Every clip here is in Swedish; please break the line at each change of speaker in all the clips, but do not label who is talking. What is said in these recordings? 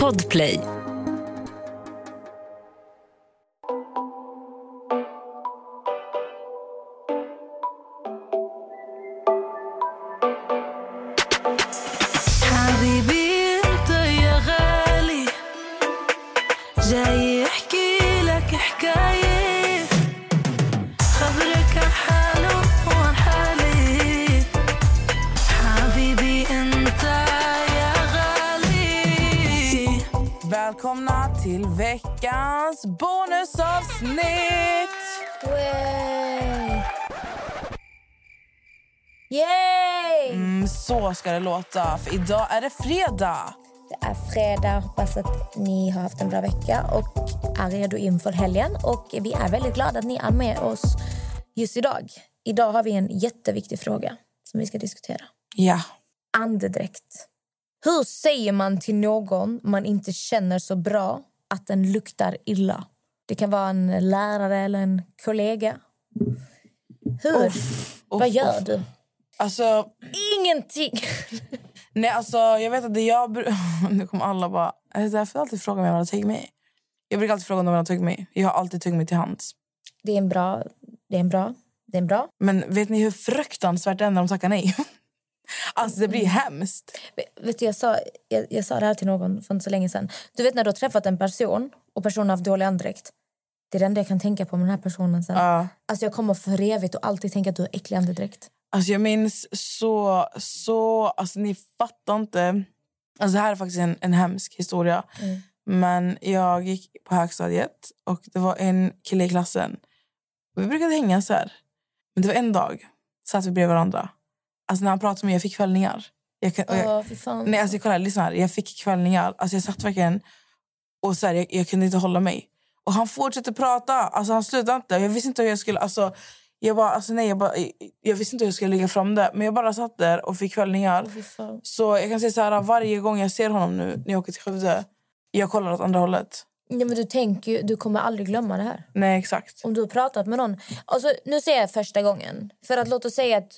Podplay.
حبيبي انت يا غالي جاي احكي لك حكاية خبرك عن حاله وعن حالي حبيبي انت يا غالي
Välkomna till veckans bonusavsnitt!
Way. Yay!
Mm, så ska det låta, för idag är det fredag.
Det är fredag. Hoppas att ni har haft en bra vecka och är redo inför helgen. Och Vi är väldigt glada att ni är med oss just idag. Idag har vi en jätteviktig fråga som vi ska diskutera.
Ja,
Andedräkt. Hur säger man till någon man inte känner så bra att den luktar illa? Det kan vara en lärare eller en kollega. Hur? Vad gör du?
alltså...
Ingenting!
Nej, alltså jag vet att det jag... bru- nu kommer alla bara... "Är det därför du alltid frågar mig om jag har tuggummi? Jag brukar alltid fråga om de har tuggummi. Jag har alltid tuggummi till hands.
Det är en bra... Det är en bra... Det är en bra.
Men vet ni hur fruktansvärt det är när de tackar nej? alltså det blir hemskt.
Vet du, jag, sa, jag, jag sa det här till någon för inte så länge sedan. Du vet när du har träffat en person och personen har haft dålig andedräkt. Det är det enda jag kan tänka på med den här personen sen.
Ja.
Alltså jag kommer för evigt och alltid tänka att du har äcklig andedräkt.
Alltså jag minns så, så... Alltså ni fattar inte. Alltså det här är faktiskt en, en hemsk historia.
Mm.
Men jag gick på högstadiet och det var en kille i klassen. Vi brukade hänga så här. Men det var en dag satt vi bredvid varandra. Alltså när han pratade med mig, jag fick kvällningar. Jag, kan- och jag,
Åh, fy fan.
Nej, alltså, kolla, här, lyssna här. Jag fick kvällningar. Alltså, jag satt verkligen och så här, jag, jag kunde inte hålla mig. Och han fortsatte prata. Alltså, han slutade inte. Jag visste inte hur jag skulle... Alltså, jag, bara, alltså, nej, jag, bara, jag visste inte hur jag skulle lägga fram det. Men jag bara satt där och fick kvällningar.
Åh, fy fan.
Så jag kan säga så här, varje gång jag ser honom nu när jag åker till Skövde, jag kollar åt andra hållet.
Nej, men du tänker ju, du kommer aldrig glömma det här.
Nej, exakt.
Om du har pratat med någon. Alltså, nu säger jag första gången. För att låt oss säga att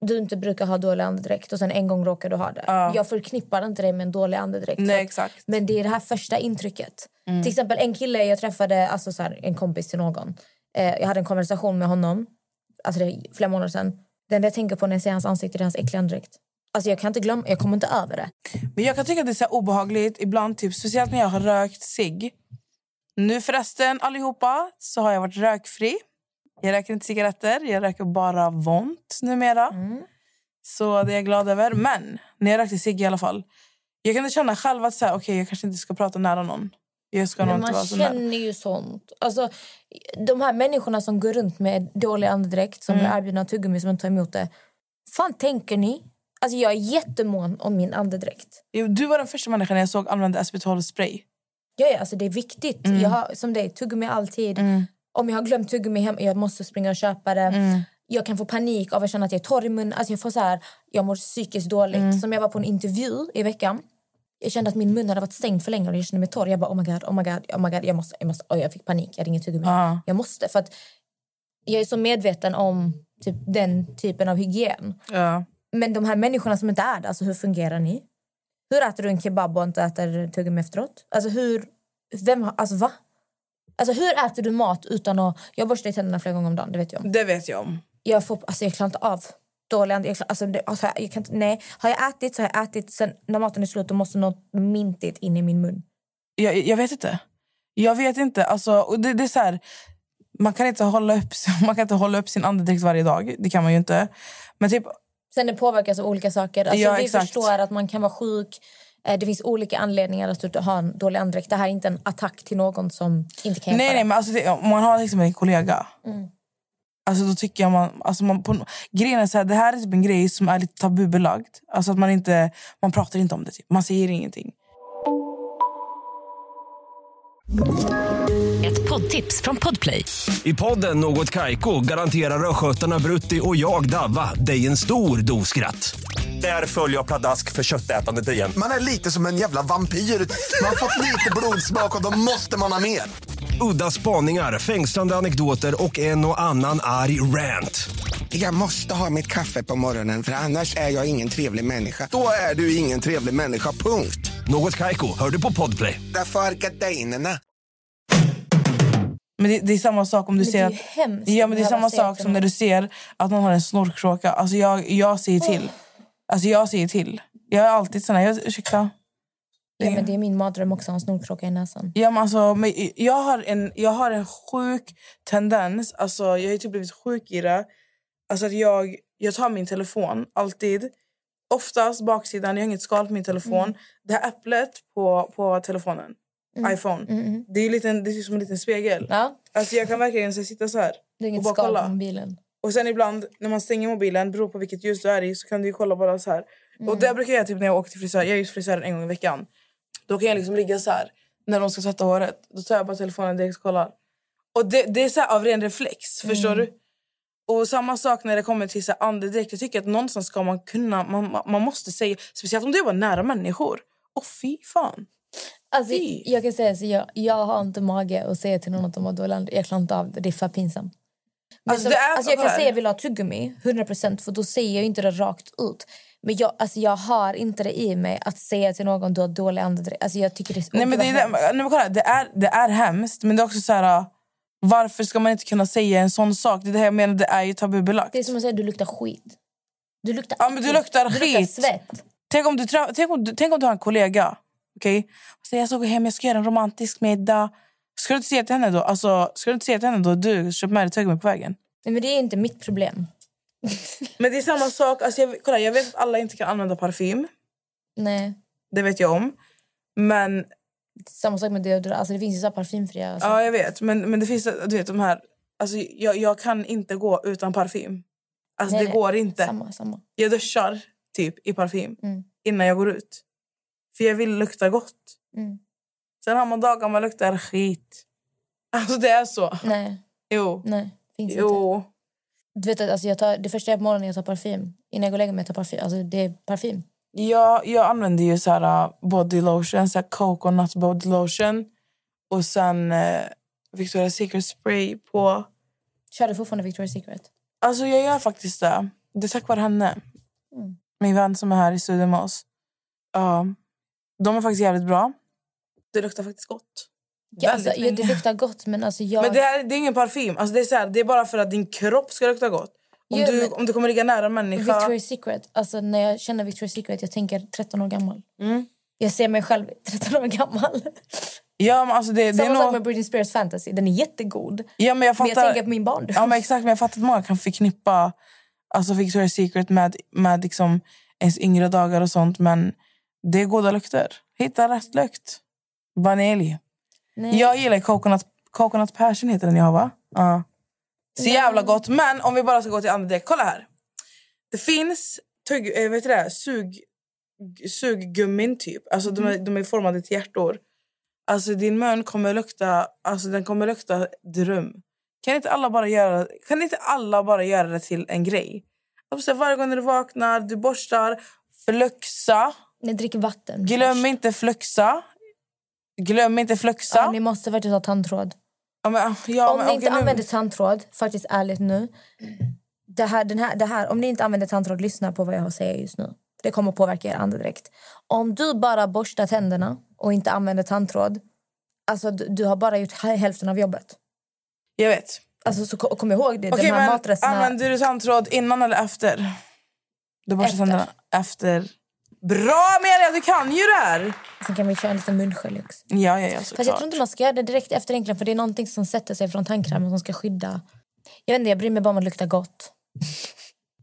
du inte brukar ha dålig andedräkt och sen en gång råkar du ha det.
Ja.
Jag förknippar inte dig med en dålig andedräkt.
Nej,
Så att-
exakt.
Men det är det här första intrycket.
Mm.
Till exempel en kille jag träffade, alltså så här, en kompis till någon. Eh, jag hade en konversation med honom, alltså det är flera månader sedan. Den jag tänker på när jag ser hans ansikte det är hans äckliga andedräkt. Alltså jag kan inte glömma, jag kommer inte över det.
Men jag kan tycka att det är så här obehagligt ibland, typ, speciellt när jag har rökt cigg. Nu förresten, allihopa, så har jag varit rökfri. Jag röker inte cigaretter, jag röker bara vont numera.
Mm.
Så det är jag glad över. Men när jag rökte cigg i alla fall, jag kunde känna själv att så här, okej, jag kanske inte ska prata nära någon. Jag ska nog
Men
inte vara
man
sån där.
känner ju sånt. Alltså, de här människorna som går runt med dålig andedräkt
Mm.
som blir erbjudna tuggummi som inte tar emot det. fan tänker ni? Alltså jag är jättemån om min andedräkt.
Jo, Du var den första människan jag såg använda SB12-spray.
Ja, ja, alltså det är viktigt. Jag har, som dig, tuggummi alltid. Om jag har glömt tuggummi hemma, jag måste springa och köpa det. Jag kan få panik av att känna att jag är torr i munnen. Alltså jag, får så här, jag mår psykiskt dåligt. Som jag var på en intervju i veckan. Jag kände att min mun hade varit stängd för länge och jag kände mig torr. Jag bara oh my god, oh my god, oh my god. Jag, måste, jag, måste, Oj, jag fick panik, jag hade inget tuggummi.
Ja.
Jag måste, för att jag är så medveten om typ, den typen av hygien.
Ja.
Men de här människorna som inte är det, alltså hur fungerar ni? Hur äter du en kebab och inte äter tuggummi efteråt? Alltså hur... Vem har... Alltså va? Alltså hur äter du mat utan att... Jag borstar i tänderna flera gånger om dagen, det vet jag. om.
Det vet jag om.
Jag får... Alltså jag klarar inte av dålig ande. Jag klarar, alltså, det, alltså jag kan inte... Nej. Har jag ätit så har jag ätit. Sen när maten är slut då måste något mintigt in i min mun.
Jag, jag vet inte. Jag vet inte. Alltså, och det, det är så här, man, kan inte hålla upp, man kan inte hålla upp sin andedräkt varje dag. Det kan man ju inte. Men typ,
Sen det påverkas av olika saker. Alltså,
Ja,
vi
exakt.
förstår att man kan vara sjuk. Eh, Det finns olika anledningar att du har en dålig andedräkt. Det här är inte en attack till någon som inte kan hjälpa
nej,
dig.
nej, men alltså, det, om man har liksom en kollega,
Mm.
alltså, då tycker jag man... Alltså, man på, grejen är så här, det här är typ en grej som är lite tabubelagd. Alltså, att man, inte, man pratar inte om det. Typ. Man säger ingenting.
Ett poddtips från Podplay.
I podden Något Kaiko garanterar östgötarna Brutti och jag, Davva, dig en stor dos skratt. Där följer jag pladask för köttätandet igen.
Man är lite som en jävla vampyr. Man har fått lite blodsmak och då måste man ha mer.
Udda spaningar, fängslande anekdoter och en och annan arg rant.
Jag måste ha mitt kaffe på morgonen för annars är jag ingen trevlig människa.
Då är du ingen trevlig människa, punkt.
Något Kaiko, hör du på Podplay.
Därför är gardinerna.
Men det, det är samma sak om du
Men
ser
det är
att...
ju hemskt
ja,
att
men det är samma
behöva se
sak
till
som när
någon.
du ser att någon har en snorkråka. Alltså jag, jag säger till. Alltså jag säger till. Jag är alltid sån här, jag, ursäkta.
Ja, men det är min mardröm också, en snorkråka i näsan.
Ja, men alltså, men jag, har en, jag har en sjuk tendens, alltså, jag har ju typ blivit sjuk i det. Alltså, att jag, jag tar min telefon alltid, oftast baksidan, jag har inget skal på min telefon.
Mm.
Det här äpplet på, på telefonen, iPhone, det är ju liten, det är som en liten spegel.
Mm, Ja,
Alltså, jag kan verkligen så, här, sitta så här
det
och
är inget
bara
skal på
kolla.
mobilen.
Och sen ibland när man stänger mobilen, beroende på vilket ljus du är i, så kan du ju kolla bara så här. Och det brukar jag typ när jag åker till frisören, jag är ju hos frisören en gång i veckan. Då kan jag liksom ligga så här när de ska tvätta håret. Då tar jag bara telefonen direkt och kollar. Och det, det är så här av ren reflex, förstår du? Och samma sak när det kommer till så här andedräkt. Jag tycker att någonstans ska man kunna, man, man- man måste säga, speciellt om du jobbar nära människor. Åh fy fan.
Alltså,
Fy.
jag kan säga så jag, jag har inte mage att säga till någon att de har dålig andedräkt. Jag klarar inte av det, det är för pinsamt. Men
Alltså,
som-
det är
alltså, jag
så
kan
här.
säga att jag vill ha tuggummi, 100% för då säger jag ju inte det rakt ut. Men jag, alltså, jag har inte det i mig att säga till någon du har dålig andedräkt. Alltså, jag tycker det är så-
Nej,
åh,
men det,
vad
är, det,
hemskt.
nej, men kolla, det, är, det är hemskt, men det är också så här... Varför ska man inte kunna säga en sån sak? Det är det här jag menar, det är ju tabubelagt.
det är som att säga du luktar skit. Du luktar,
Ja, men du
äckligt.
luktar skit.
svett.
Tänk, om du, trä- tänk, om du, tänk om du har en kollega. Okay? Och säger jag ska gå hem, jag ska göra en romantisk middag. Ska du inte säga till henne då? Alltså, ska du inte säga till henne då? Du, köp med dig tuggummi på vägen.
Nej, men det är inte mitt problem.
Men det är samma sak. Alltså, jag, kolla, jag vet att alla inte kan använda parfym.
Nej.
Det vet jag om. Men
Samma sak med deodorant. Alltså, det finns ju så här parfymfria. Alltså.
Ja, jag vet. Men, men det finns du vet, de här... Alltså, jag, jag kan inte gå utan parfym. Alltså,
Nej,
det
nej.
går inte.
Samma, samma.
Jag duschar typ i parfym
Mm.
innan jag går ut. För jag vill lukta gott.
Mm.
Sen har man dagar man luktar skit. Alltså, det är så.
Nej,
Jo.
nej. Finns inte.
Jo.
Du vet att alltså jag tar, det första jag gör på morgonen är att jag tar parfym. Innan jag går och lägger mig jag tar parfym. Alltså det är parfym.
Jag, jag använder ju så här uh, body lotion, så här coconut body lotion. Och sen eh, Victoria's Secret spray på...
Kör du fortfarande Victoria's Secret?
Alltså jag gör faktiskt det. Det är tack vare henne. Min vän som är här i studion med oss. Ja. de är faktiskt jävligt bra. Det luktar faktiskt gott.
Ja, alltså,
Väldigt
ja, det
länge.
luktar gott men alltså jag...
Men det, här, det är ingen parfym. Alltså det, är så här, det är bara för att din kropp ska lukta gott. Om,
Jo,
du,
men-
om du kommer ligga nära en människa...
Victoria's Secret, alltså när jag känner Victoria's Secret jag tänker 13 år gammal.
Mm.
Jag ser mig själv 13 år gammal.
Ja, men alltså det, det är
Samma sak med
nog...
Britney Spears fantasy. Den är jättegod.
Ja, men jag
Men
fattar...
jag tänker på min barndom.
Ja, men exakt. Men jag fattar att många kan förknippa alltså Victoria's Secret med, med liksom ens yngre dagar och sånt. Men det är goda lukter. Hitta rätt lukt. Vanilj.
Nej.
Jag gillar coconut, coconut passion heter den jag har va? Ja. Så jävla gott. Men om vi bara ska gå till andedräkt. Kolla här. Det finns tugg, eh, vet du det, här? sug, g- suggummin typ. Alltså de,
Mm.
är, de är formade till hjärtor. Alltså din mun kommer lukta, alltså den kommer lukta dröm. Kan inte alla bara göra, kan inte alla bara göra det till en grej? Alltså, varje gång när du vaknar, du borstar, fluxa.
Jag dricker vatten.
Glöm
först.
inte fluxa. Glöm inte fluxa.
Ja, ni måste faktiskt ha tandtråd.
Ja, men, ja,
om
men,
ni
okej,
inte
nu-
använder tandtråd, faktiskt ärligt nu. Det här, den här, det här, om ni inte använder tandtråd, lyssna på vad jag har att säga just nu. Det kommer påverka er andedräkt. Om du bara borstar tänderna och inte använder tandtråd, alltså du, du har bara gjort hä- hälften av jobbet.
Jag vet.
Alltså så ko- kom ihåg det.
Okej,
de här
men
matresterna.
använder du tandtråd innan eller efter? Du borstar
Efter.
tänderna? Efter. Bra Amelia, du kan ju det här!
Sen kan vi köra en liten munskölj också.
Ja, ja, ja
Fast jag
såklart.
tror inte man ska göra det direkt efter egentligen för det är någonting som sätter sig från tandkrämen som ska skydda. Jag vet inte, jag bryr mig bara om att lukta gott.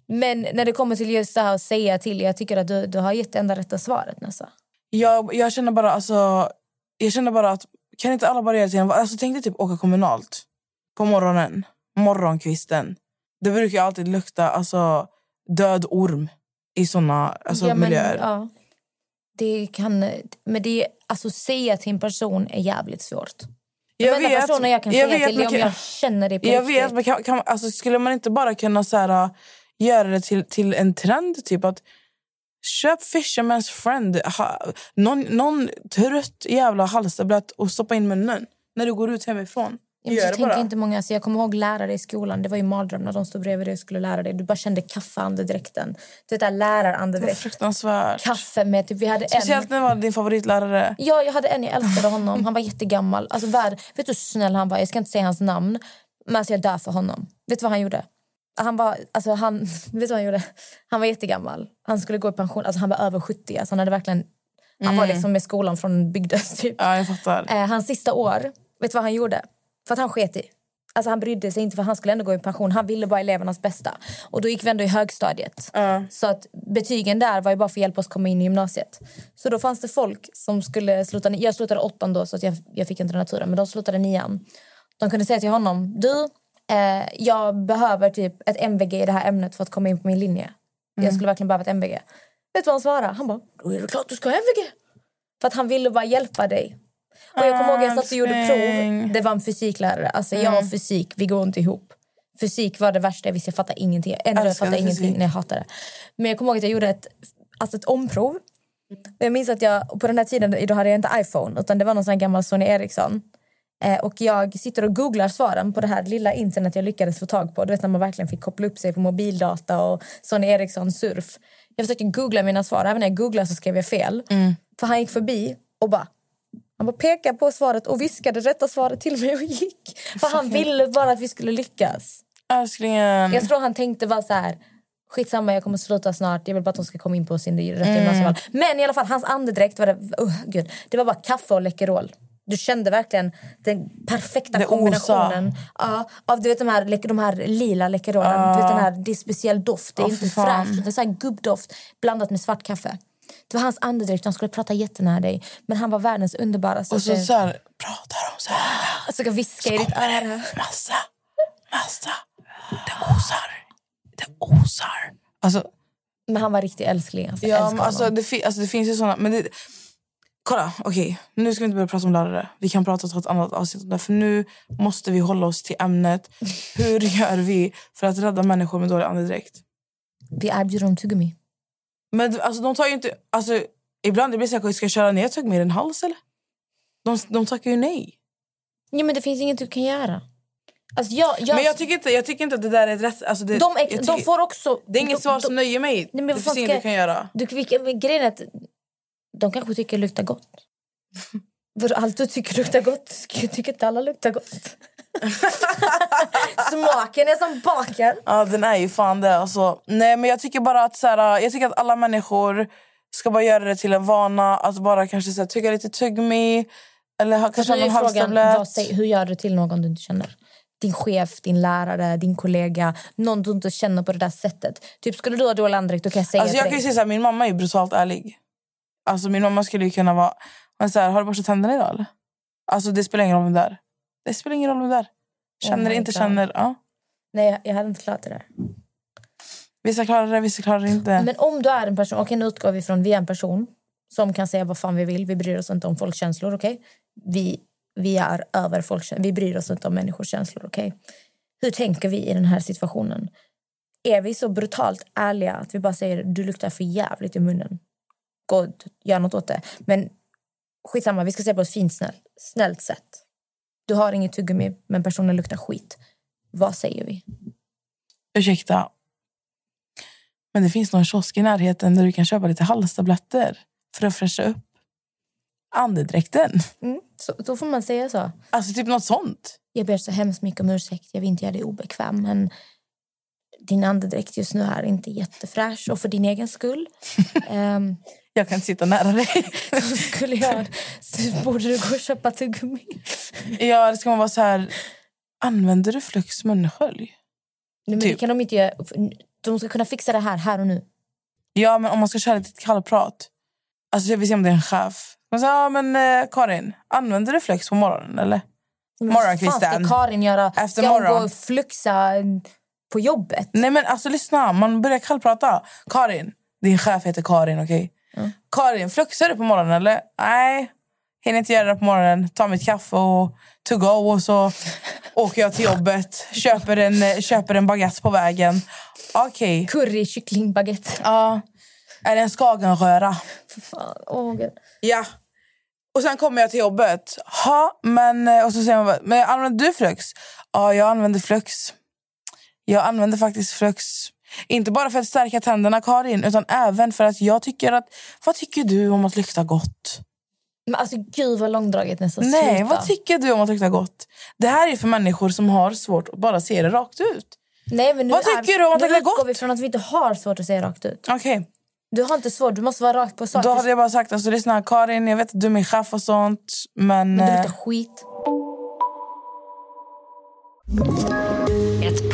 Men när det kommer till just det här att säga till, jag tycker att du, du har gett det enda rätta svaret Nessa.
Jag, jag känner bara alltså, jag känner bara att kan inte alla bara göra till en... Alltså, tänk dig typ åka kommunalt på morgonen, morgonkvisten. Det brukar ju alltid lukta alltså, död orm i såna alltså,
Ja, men,
miljöer.
ja. Det kan, men det, alltså säga till en person är jävligt svårt.
Jag
Den enda personen jag kan säga till är
men
om
kan-
jag känner dig på
Jag
riktigt.
vet, men kan, kan, alltså, skulle man inte bara kunna så här, göra det till, till en trend? Typ att köp Fisherman's friend, ha, någon, någon trött jävla halstablett och stoppa in munnen när du går ut hemifrån.
Jag
Gör
Gör
det
tänker
bara.
inte många, alltså jag kommer ihåg lärare i skolan. Det var ju mardröm när de stod bredvid dig och skulle lära dig. Du bara kände kaffeandedräkten. Du vet,
Det
där
var
lärarandedräkt.
fruktansvärt.
Kaffe med typ, vi hade en...
Speciellt när det var din favoritlärare.
Ja, jag hade en, jag älskade honom. Han var jättegammal. Alltså, värd, vet du hur snäll han var? Jag ska inte säga hans namn, men alltså, jag dör för honom. Vet du vad han gjorde? Han var, alltså, han, vet du vad han gjorde? Han var jättegammal. Han skulle gå i pension. Alltså, han var över 70. Alltså, han, hade verkligen, han var liksom med skolan från bygden. Typ.
Mm. Ja, jag fattar.
Eh, hans sista år, vet du vad han gjorde? För att han sket i. Alltså han brydde sig inte för han skulle ändå gå i pension. Han ville bara elevernas bästa. Och då gick vi ändå i högstadiet. Så att betygen där var ju bara för att hjälpa oss komma in i gymnasiet. Så då fanns det folk som skulle sluta... ni- Jag slutade åttan då så att jag, jag fick inte den här turen. Men de slutade nian. De kunde säga till honom. Du, eh, jag behöver typ ett MVG i det här ämnet för att komma in på min linje. Jag skulle verkligen behöva ett MVG. Vet du vad han svarade? Han bara, då är det klart du ska ha MVG. För att han ville bara hjälpa dig. Och jag kommer ihåg jag satt och gjorde prov.
Älskling. Mm.
Det var en fysiklärare. Alltså jag och fysik, vi går inte ihop. Fysik var det värsta jag visste. Jag fattade ingenting. Ändå jag
Älskade
fattade ingenting.
fysik.
när jag hatade det. Men jag kommer ihåg att jag gjorde ett, alltså ett omprov. Och jag minns att jag, och på den här tiden då hade jag inte iPhone. Utan det var någon sån här gammal Sony Ericsson. Eh, och jag sitter och googlar svaren på det här lilla internet jag lyckades få tag på. Du vet när man verkligen fick koppla upp sig på mobildata och Sony Ericsson surf. Jag försöker googla mina svar. Även när jag googlar så skrev jag fel. För han gick förbi och bara han bara pekade på svaret och viskade rätta svaret till mig och gick. För han ville bara att vi skulle lyckas.
Älsklingen.
Jag tror han tänkte bara så här skitsamma jag kommer sluta snart. Jag vill bara att de ska komma in på sin rätta
Mm.
gymnasieval. Men i alla fall hans andedräkt var det oh, gud, det var bara kaffe och Läkerol. Du kände verkligen den perfekta
Det
kombinationen ja, av du vet, de, här, läck- de här lila Läkerolen. Du vet, den här, det är speciell doft. Det är
Ja,
inte
för fan.
fräscht. Det är så här gubbdoft blandat med svart kaffe. Det var hans andedräkt. Han skulle prata jättenära dig. Men han var världens underbaraste.
Och så,
tjej.
så här, pratar de så här.
Alltså, jag viska i ditt öra.
Massa, massa. Det osar. Det osar. Alltså,
Men han var riktigt älskling. Alltså, jag
ja, men
älskar
alltså,
honom.
det, fi- alltså, det finns ju såna. Men det, kolla, okej. Nu ska vi inte börja prata om lärare. Vi kan prata om ett annat avsnitt om det. För nu måste vi hålla oss till ämnet. Hur gör vi för att rädda människor med dålig andedräkt?
Vi erbjuder dem tuggummi.
Men du, alltså, de tar ju inte... Alltså, ibland det blir det så här, ska jag köra ner ett tugg med din hals eller? De, de tackar ju nej.
Ja, men det finns inget du kan göra. Alltså, jag, jag,
Men jag tycker inte, jag tycker inte att det där är ett rätt... Alltså, det,
de,
jag
ex,
tycker-
de får också...
Det är inget
de,
svar
de,
som nöjer mig.
men
det
vad
finns
fan
inget
ska
du kan göra.
du, vilka- men Grejen är att de kanske tycker det luktar gott. Vadå, allt du tycker luktar gott? Jag tycker inte alla luktar gott. Smaken är som baken.
Ja, den är ju fan det. Alltså. Nej, men jag tycker bara att, så här, jag tycker att alla människor ska bara göra det till en vana. Att bara kanske så här, tugga lite tuggmi. Eller ha,
Fast nu
kanske ha
Alltså, är
någon
frågan, vad,
halstablett.
säger- hur gör du till någon du inte känner? Din chef, din lärare, din kollega. Någon du inte känner på det där sättet. Typ skulle du ha dålig andedräkt, då kan jag säga
Alltså,
till
jag kan
dig.
ju säga så här, min mamma är brutalt ärlig. Alltså, min mamma skulle ju kunna vara... Men så här, har du borstat tänderna idag eller? Alltså, det spelar ingen roll vem det är. Det spelar ingen roll vem det är. Känner,
my
inte
God.
känner. Ja.
Nej, jag, jag hade inte klarat det där.
Vissa klarar det, vissa klarar det inte.
Men om du är en person, okej nu utgår vi från vi är en person som kan säga vad fan vi vill. Vi bryr oss inte om folks känslor, okej? Vi, vi är över folks Vi bryr oss inte om människors känslor, okej? Hur tänker vi i den här situationen? Är vi så brutalt ärliga att vi bara säger du luktar för jävligt i munnen? Gå och gör något åt det. Men skitsamma, vi ska säga på ett fint snäll, snällt sätt. Du har inget tuggummi, men personen luktar skit. Vad säger vi?
Ursäkta. Men det finns någon kiosk i närheten där du kan köpa lite halstabletter för att fräscha upp andedräkten.
Mm. Så, då får man säga så.
Alltså typ något sånt.
Jag ber så hemskt mycket om ursäkt. Jag vill inte göra dig obekväm, men din andedräkt just nu är inte jättefräsch. Och för din egen skull ehm,
Jag kan inte sitta nära dig.
så skulle jag, så borde du gå och köpa tuggummi.
ja, det ska man vara så här. Använder du Flux munskölj?
Nej, men det
Typ.
kan de inte göra. De ska kunna fixa det här, här och nu.
Ja, men om man ska köra lite kallprat. Alltså jag vill se om det är en chef. Man säger, ja men eh, Karin, använder du Flux på morgonen eller?
Men vad fan
Morgonkvisten.
ska Karin göra?
Efter
ska hon
morgon.
gå och fluxa mm, på jobbet?
Nej men alltså lyssna, man börjar kallprata. Karin, din chef heter Karin, okej? Karin, fluxar du på morgonen eller? Nej, hinner inte göra det på morgonen. Ta mitt kaffe och to go och så åker jag till jobbet. Köper en, eh, köper en baguette på vägen. Okej,
Curry, kyckling, baguette.
ja. är det en skagenröra?
Fan, åh, gud.
Ja. Och sen kommer jag till jobbet. Ha, men, eh, och så säger man bara, men använder du Flux? Ja, jag använder Flux. Jag använder faktiskt Flux. Inte bara för att stärka tänderna Karin, utan även för att jag tycker att... Vad tycker du om att lukta gott?
Men alltså gud vad långdraget nästan.
Nej,
Sluta.
vad tycker du om att lukta gott? Det här är för människor som har svårt att bara se det rakt ut.
Nej, men nu
Vad
är-
tycker du om att
nu
det är
utgår
gott?
vi från att vi inte har svårt att säga rakt ut.
Okej,
Du har inte svårt, du måste vara rakt på sak.
då hade jag bara sagt alltså lyssna Karin, jag vet att du är min chef och sånt, men...
Men du
eh,
luktar skit.
Ett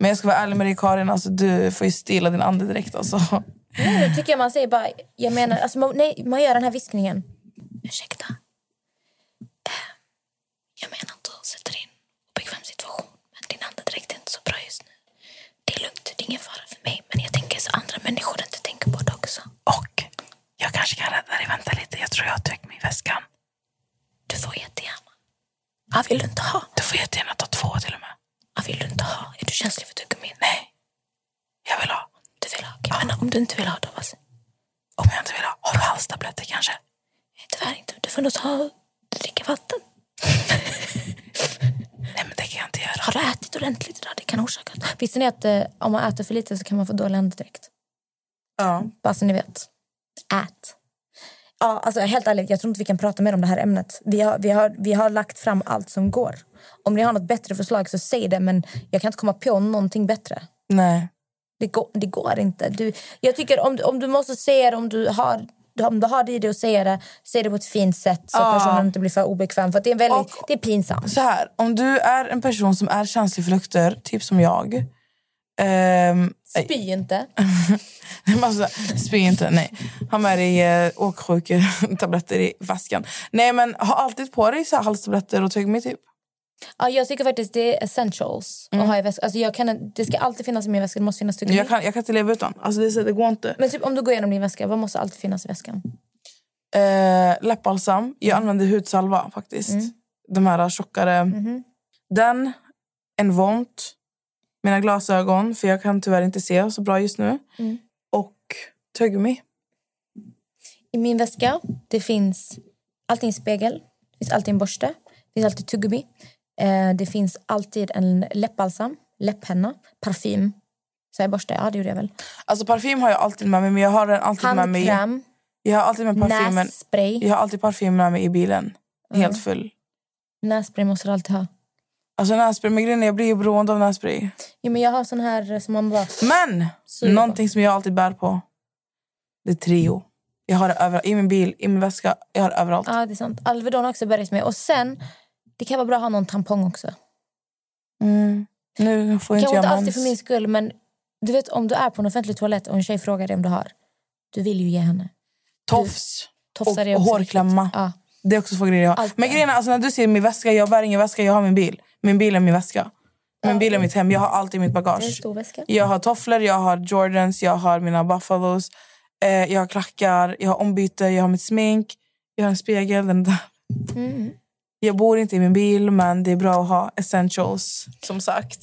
Men jag ska vara ärlig med dig Karin, alltså, du får ju stilla din andedräkt. Alltså.
Nu tycker jag man säger bara, jag menar, alltså, man, nej, man gör den här viskningen. Ursäkta. Eh, Jag menar inte att sätta dig i en obekväm situation, men din andedräkt är inte så bra just nu. Det är lugnt, det är ingen fara för mig, men jag tänker så andra människor inte tänker på det också.
Och jag kanske kan rädda dig, vänta lite, jag tror jag har tömt mig i väskan.
Du får jättegärna. Ja, vill du inte ha?
Du får jättegärna ta två till och med.
Ja, vill du inte ha? Är du känslig för tuggummin?
Nej, jag vill ha.
Du vill ha? Okej, men om du inte vill ha då, vad säger
Om jag inte vill ha, har du halstabletter kanske?
Nej, Tyvärr inte. Du får nog ta dricka vatten.
Nej men det kan jag inte göra.
Har du ätit ordentligt idag? Det kan orsaka... Visste ni att eh, om man äter för lite så kan man få dålig andedräkt?
Ja.
Bara så ni vet. Ät. Ja, alltså helt ärligt, jag tror inte vi kan prata mer om det här ämnet. Vi har, vi har, vi har lagt fram allt som går. Om ni har något bättre förslag så säg det, men jag kan inte komma på någonting bättre.
Nej.
Det går, det går inte. Du, jag tycker om, du- om du måste säga det, om du har om du har det i dig att säga det, säg det på ett fint sätt så att
Ja.
personen inte blir för obekväm. För att det är, väldigt,
Och-
det är pinsamt.
Så här, om du är en person som är känslig för lukter, typ som jag. ehm,
Spy inte.
Man bara så här, Spy inte, nej. Ha med dig eh, åksjuketabletter i väskan. Nej, men ha alltid på dig så här halstabletter och tuggummi. Typ.
Ja, jag tycker faktiskt det är essentials att ha i väskan. Alltså jag kan, det ska alltid finnas i min väska. Det måste finnas tuggummi.
Mm. Jag, kan, jag kan inte leva utan. Alltså, det, är så här, det går inte.
Men typ om du går igenom din väska, vad måste alltid finnas i väskan?
Eh, läppbalsam. Jag
Mm.
använder hudsalva faktiskt. De här tjockare.
Mm-hmm.
Den, en vont, mina glasögon, för jag kan tyvärr inte se så bra just nu.
Mm.
Och tuggummi.
I min väska det finns alltid en spegel, det finns alltid en borste, det finns alltid tuggummi. Eh, det finns alltid en läppbalsam, läpphenna, parfym. Så jag borste, ja det gjorde jag väl.
Alltså parfym har jag alltid med mig, men jag har den alltid med mig.
Handkräm,
Jag har alltid med parfymen.
nässpray. Mm.
Jag har alltid parfym med mig i bilen. Helt full.
Nässpray måste du alltid ha.
Alltså nässpray, men grejen är, jag blir ju beroende av nässpray.
Ja, men jag har sån här eh, som man bara...
Men
Suger på.
någonting som jag alltid bär på, det är Trio. Jag har det överallt. I min bil, i min väska. Jag har det överallt.
Ja, det är sant. Alvedon har också börjat med. Och sen, det kan vara bra att ha någon tampong också.
Mm. Nu får inte
Kanske
jag
inte alltid
mens.
för min typ skull, men du vet om du är på en offentlig toalett och en tjej frågar dig om du har, du vill ju ge henne.
Tofs och,
Tofsar är
och
också
hårklämma.
viktigt. Ja.
Det är också två grejer jag har.
Allt
Men
det.
grejen är, alltså, när du säger min väska, jag bär ingen väska, jag har min bil. Min bil är min väska. Min bil är mitt hem, jag har allt i mitt
Det är en
bagage.
stor väska.
Jag har tofflor, jag har Jordans, jag har mina buffalos. Eh, jag har klackar, jag har ombyte, jag har mitt smink. Jag har en spegel, den där.
Mm.
Jag bor inte i min bil, men det är bra att ha essentials, som sagt.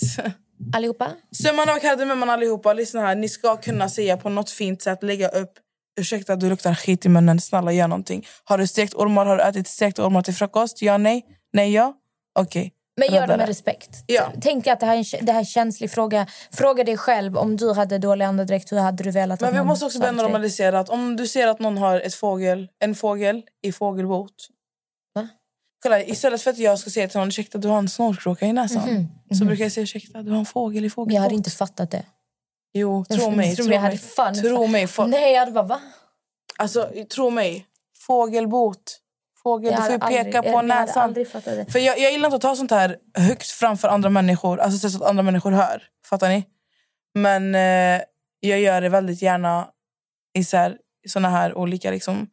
Allihopa?
Summan av kardemumman allihopa, lyssna här. Ni ska kunna säga på något fint sätt, lägga upp Ursäkta, du luktar skit i munnen. Snälla, gör någonting. Har du stekt ormar? Har du ätit stekt ormar till frukost? Ja, nej? Nej, ja? Okej.
Men gör det
Räddare.
med respekt.
Ja.
Tänk att det här, är en, kä- det här är en känslig fråga. Fråga dig själv om du hade dålig andedräkt, hur hade du velat
Men
att
vi
någon
måste också
sa
börja
till dig?
normalisera att om du ser att någon har ett fågel, en fågel i fågelbot.
Va?
Kolla, istället för att jag ska säga till någon ursäkta du har en snorkråka i näsan. Så brukar jag säga ursäkta du har en fågel i fågelbot.
Mhm, Jag hade inte fattat det.
Jo, tro mig.
Tror
tro
du jag hade
mig.
fan inte
Tro
fattat?
mig. Få...
Nej, jag hade bara va?
Alltså, tro mig. Fågelbot. Fågel, du
Jag
får ju
hade aldrig-
peka
jag-
på
Jag hade
näsan.
aldrig fattat det.
För jag, jag gillar inte att ta sånt här högt framför andra människor. Alltså så att andra människor hör. Fattar ni? Men eh, jag gör det väldigt gärna i så här, såna här olika liksom,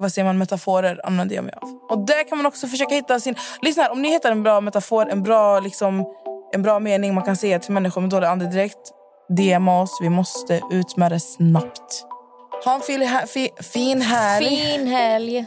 vad säger man, metaforer använder jag mig av. Och där kan man också försöka hitta sin... Lyssna här, om ni hittar en bra metafor, en bra, liksom, en bra mening man kan säga till människor med dålig andedräkt. DM oss, vi måste ut med det snabbt. Ha en fin, här- fi, fin helg.
Fin helg!